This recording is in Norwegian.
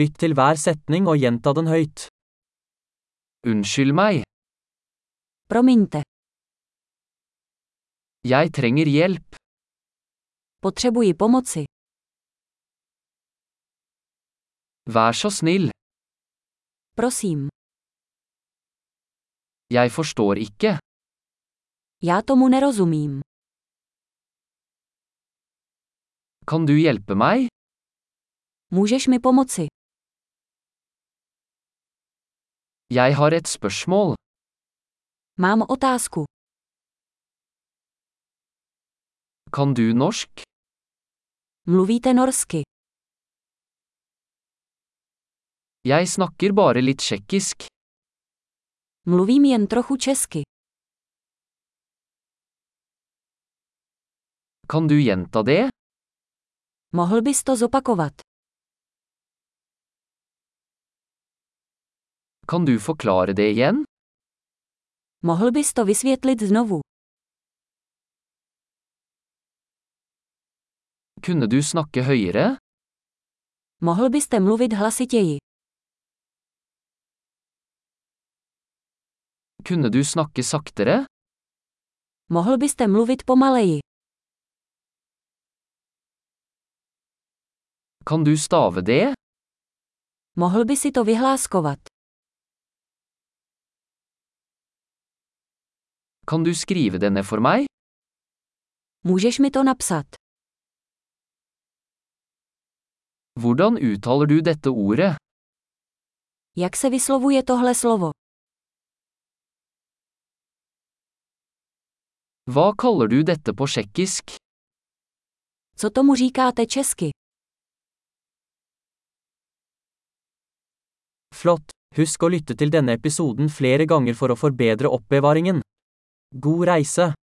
Lytt til hver setning og gjenta den høyt. Unnskyld meg, Promiňte, jeg trenger hjelp. potřebuji pomoci. Vær så snill, Prosím, jeg forstår ikke. já tomu nerozumím. Kan du hjelpe meg? Můžeš mi pomoci? Jeg har et spørsmål. Mám otázku. Kan du norsk? Mluvíte norsky? Jeg snakker bare litt tsjekkisk. Mluvím jen trochu česky. Kan du gjenta det? Mohl bys to zopakovat? Kan du forklare det igjen? Mohl bys to vysvětlit znovu? Kunne du snakke høyere? Mohl byste mluvit hlasitěji? Kunne du snakke saktere? Mohl byste mluvit pomaleji? Kan du stave det? Mohl by si to vyhláskovat? Kan du skrive det ned for meg? Můžeš mi to napsat? Hvordan uttaler du dette ordet? Jak se vyslovuje tohle slovo? Hva kaller du dette på tsjekkisk? Co tomu říkáte česky? Flott! Husk å lytte til denne episoden flere ganger for å forbedre oppbevaringen. God reise!